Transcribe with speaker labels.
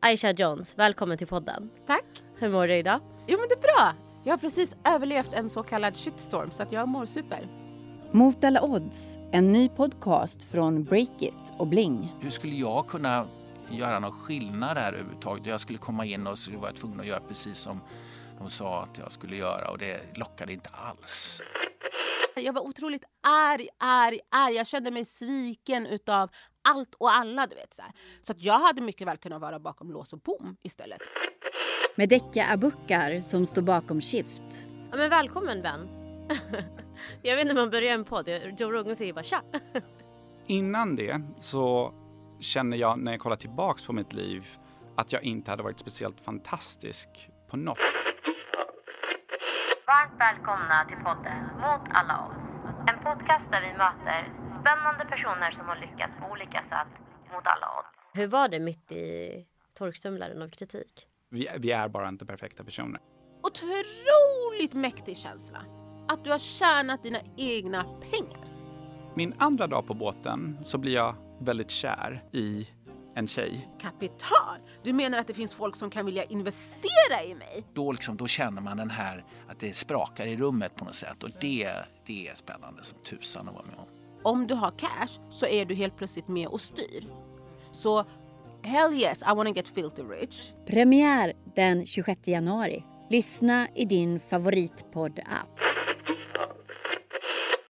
Speaker 1: Aisha Jones, välkommen till podden.
Speaker 2: Tack.
Speaker 1: Hur mår du idag?
Speaker 2: Jo men det är bra. Jag har precis överlevt en så kallad shitstorm så att jag mår super.
Speaker 3: Mot alla odds, en ny podcast från Breakit och Bling.
Speaker 4: Hur skulle jag kunna göra någon skillnad här överhuvudtaget? Jag skulle komma in och så var jag tvungen att göra precis som de sa att jag skulle göra och det lockade inte alls.
Speaker 2: Jag var otroligt arg, arg, arg. Jag kände mig sviken utav allt och alla. Du vet, så här. så att jag hade mycket väl kunnat vara bakom lås och bom istället.
Speaker 3: Medecca Abukar som står bakom Shift.
Speaker 1: Ja, men välkommen vän. jag vet inte när man börjar en podd, jag- Joe Rogan säger bara tja.
Speaker 5: Innan det så känner jag när jag kollar tillbaks på mitt liv att jag inte hade varit speciellt fantastisk på något.
Speaker 6: Varmt välkomna till podden Mot alla odds. En podcast där vi möter spännande personer som har lyckats på olika sätt mot alla odds.
Speaker 1: Hur var det mitt i torktumlaren av kritik?
Speaker 5: Vi, vi är bara inte perfekta personer.
Speaker 2: Otroligt mäktig känsla. Att du har tjänat dina egna pengar.
Speaker 5: Min andra dag på båten så blir jag väldigt kär i en tjej.
Speaker 2: Kapital! Du menar att det finns folk som kan vilja investera i mig?
Speaker 4: Då, liksom, då känner man den här att det sprakar i rummet på något sätt och det, det är spännande som tusan att vara med om.
Speaker 2: om du har cash så är du helt plötsligt med och styr. Så hell yes, I wanna get filthy rich.
Speaker 3: Premiär den 26 januari. Lyssna i din favoritpodd-app.